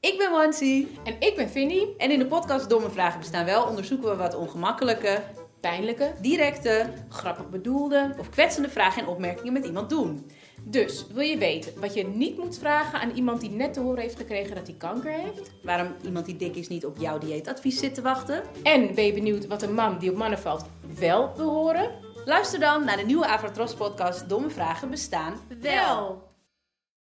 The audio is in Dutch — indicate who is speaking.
Speaker 1: ben Wansi.
Speaker 2: En ik ben Vinnie.
Speaker 1: En in de podcast Domme Vragen Bestaan Wel onderzoeken we wat ongemakkelijke,
Speaker 2: Pijnlijke,
Speaker 1: directe
Speaker 2: grappig bedoelde.
Speaker 1: of kwetsende vragen en opmerkingen met iemand doen.
Speaker 2: Dus wil je weten wat je niet moet vragen aan iemand die net te horen heeft gekregen dat hij kanker heeft?
Speaker 1: Waarom iemand die dik is niet op jouw dieetadvies zit te wachten?
Speaker 2: En ben je benieuwd wat een man die op mannen valt wel wil horen?
Speaker 1: Luister dan naar de nieuwe Avatros podcast Domme Vragen Bestaan Wel.
Speaker 2: Wel!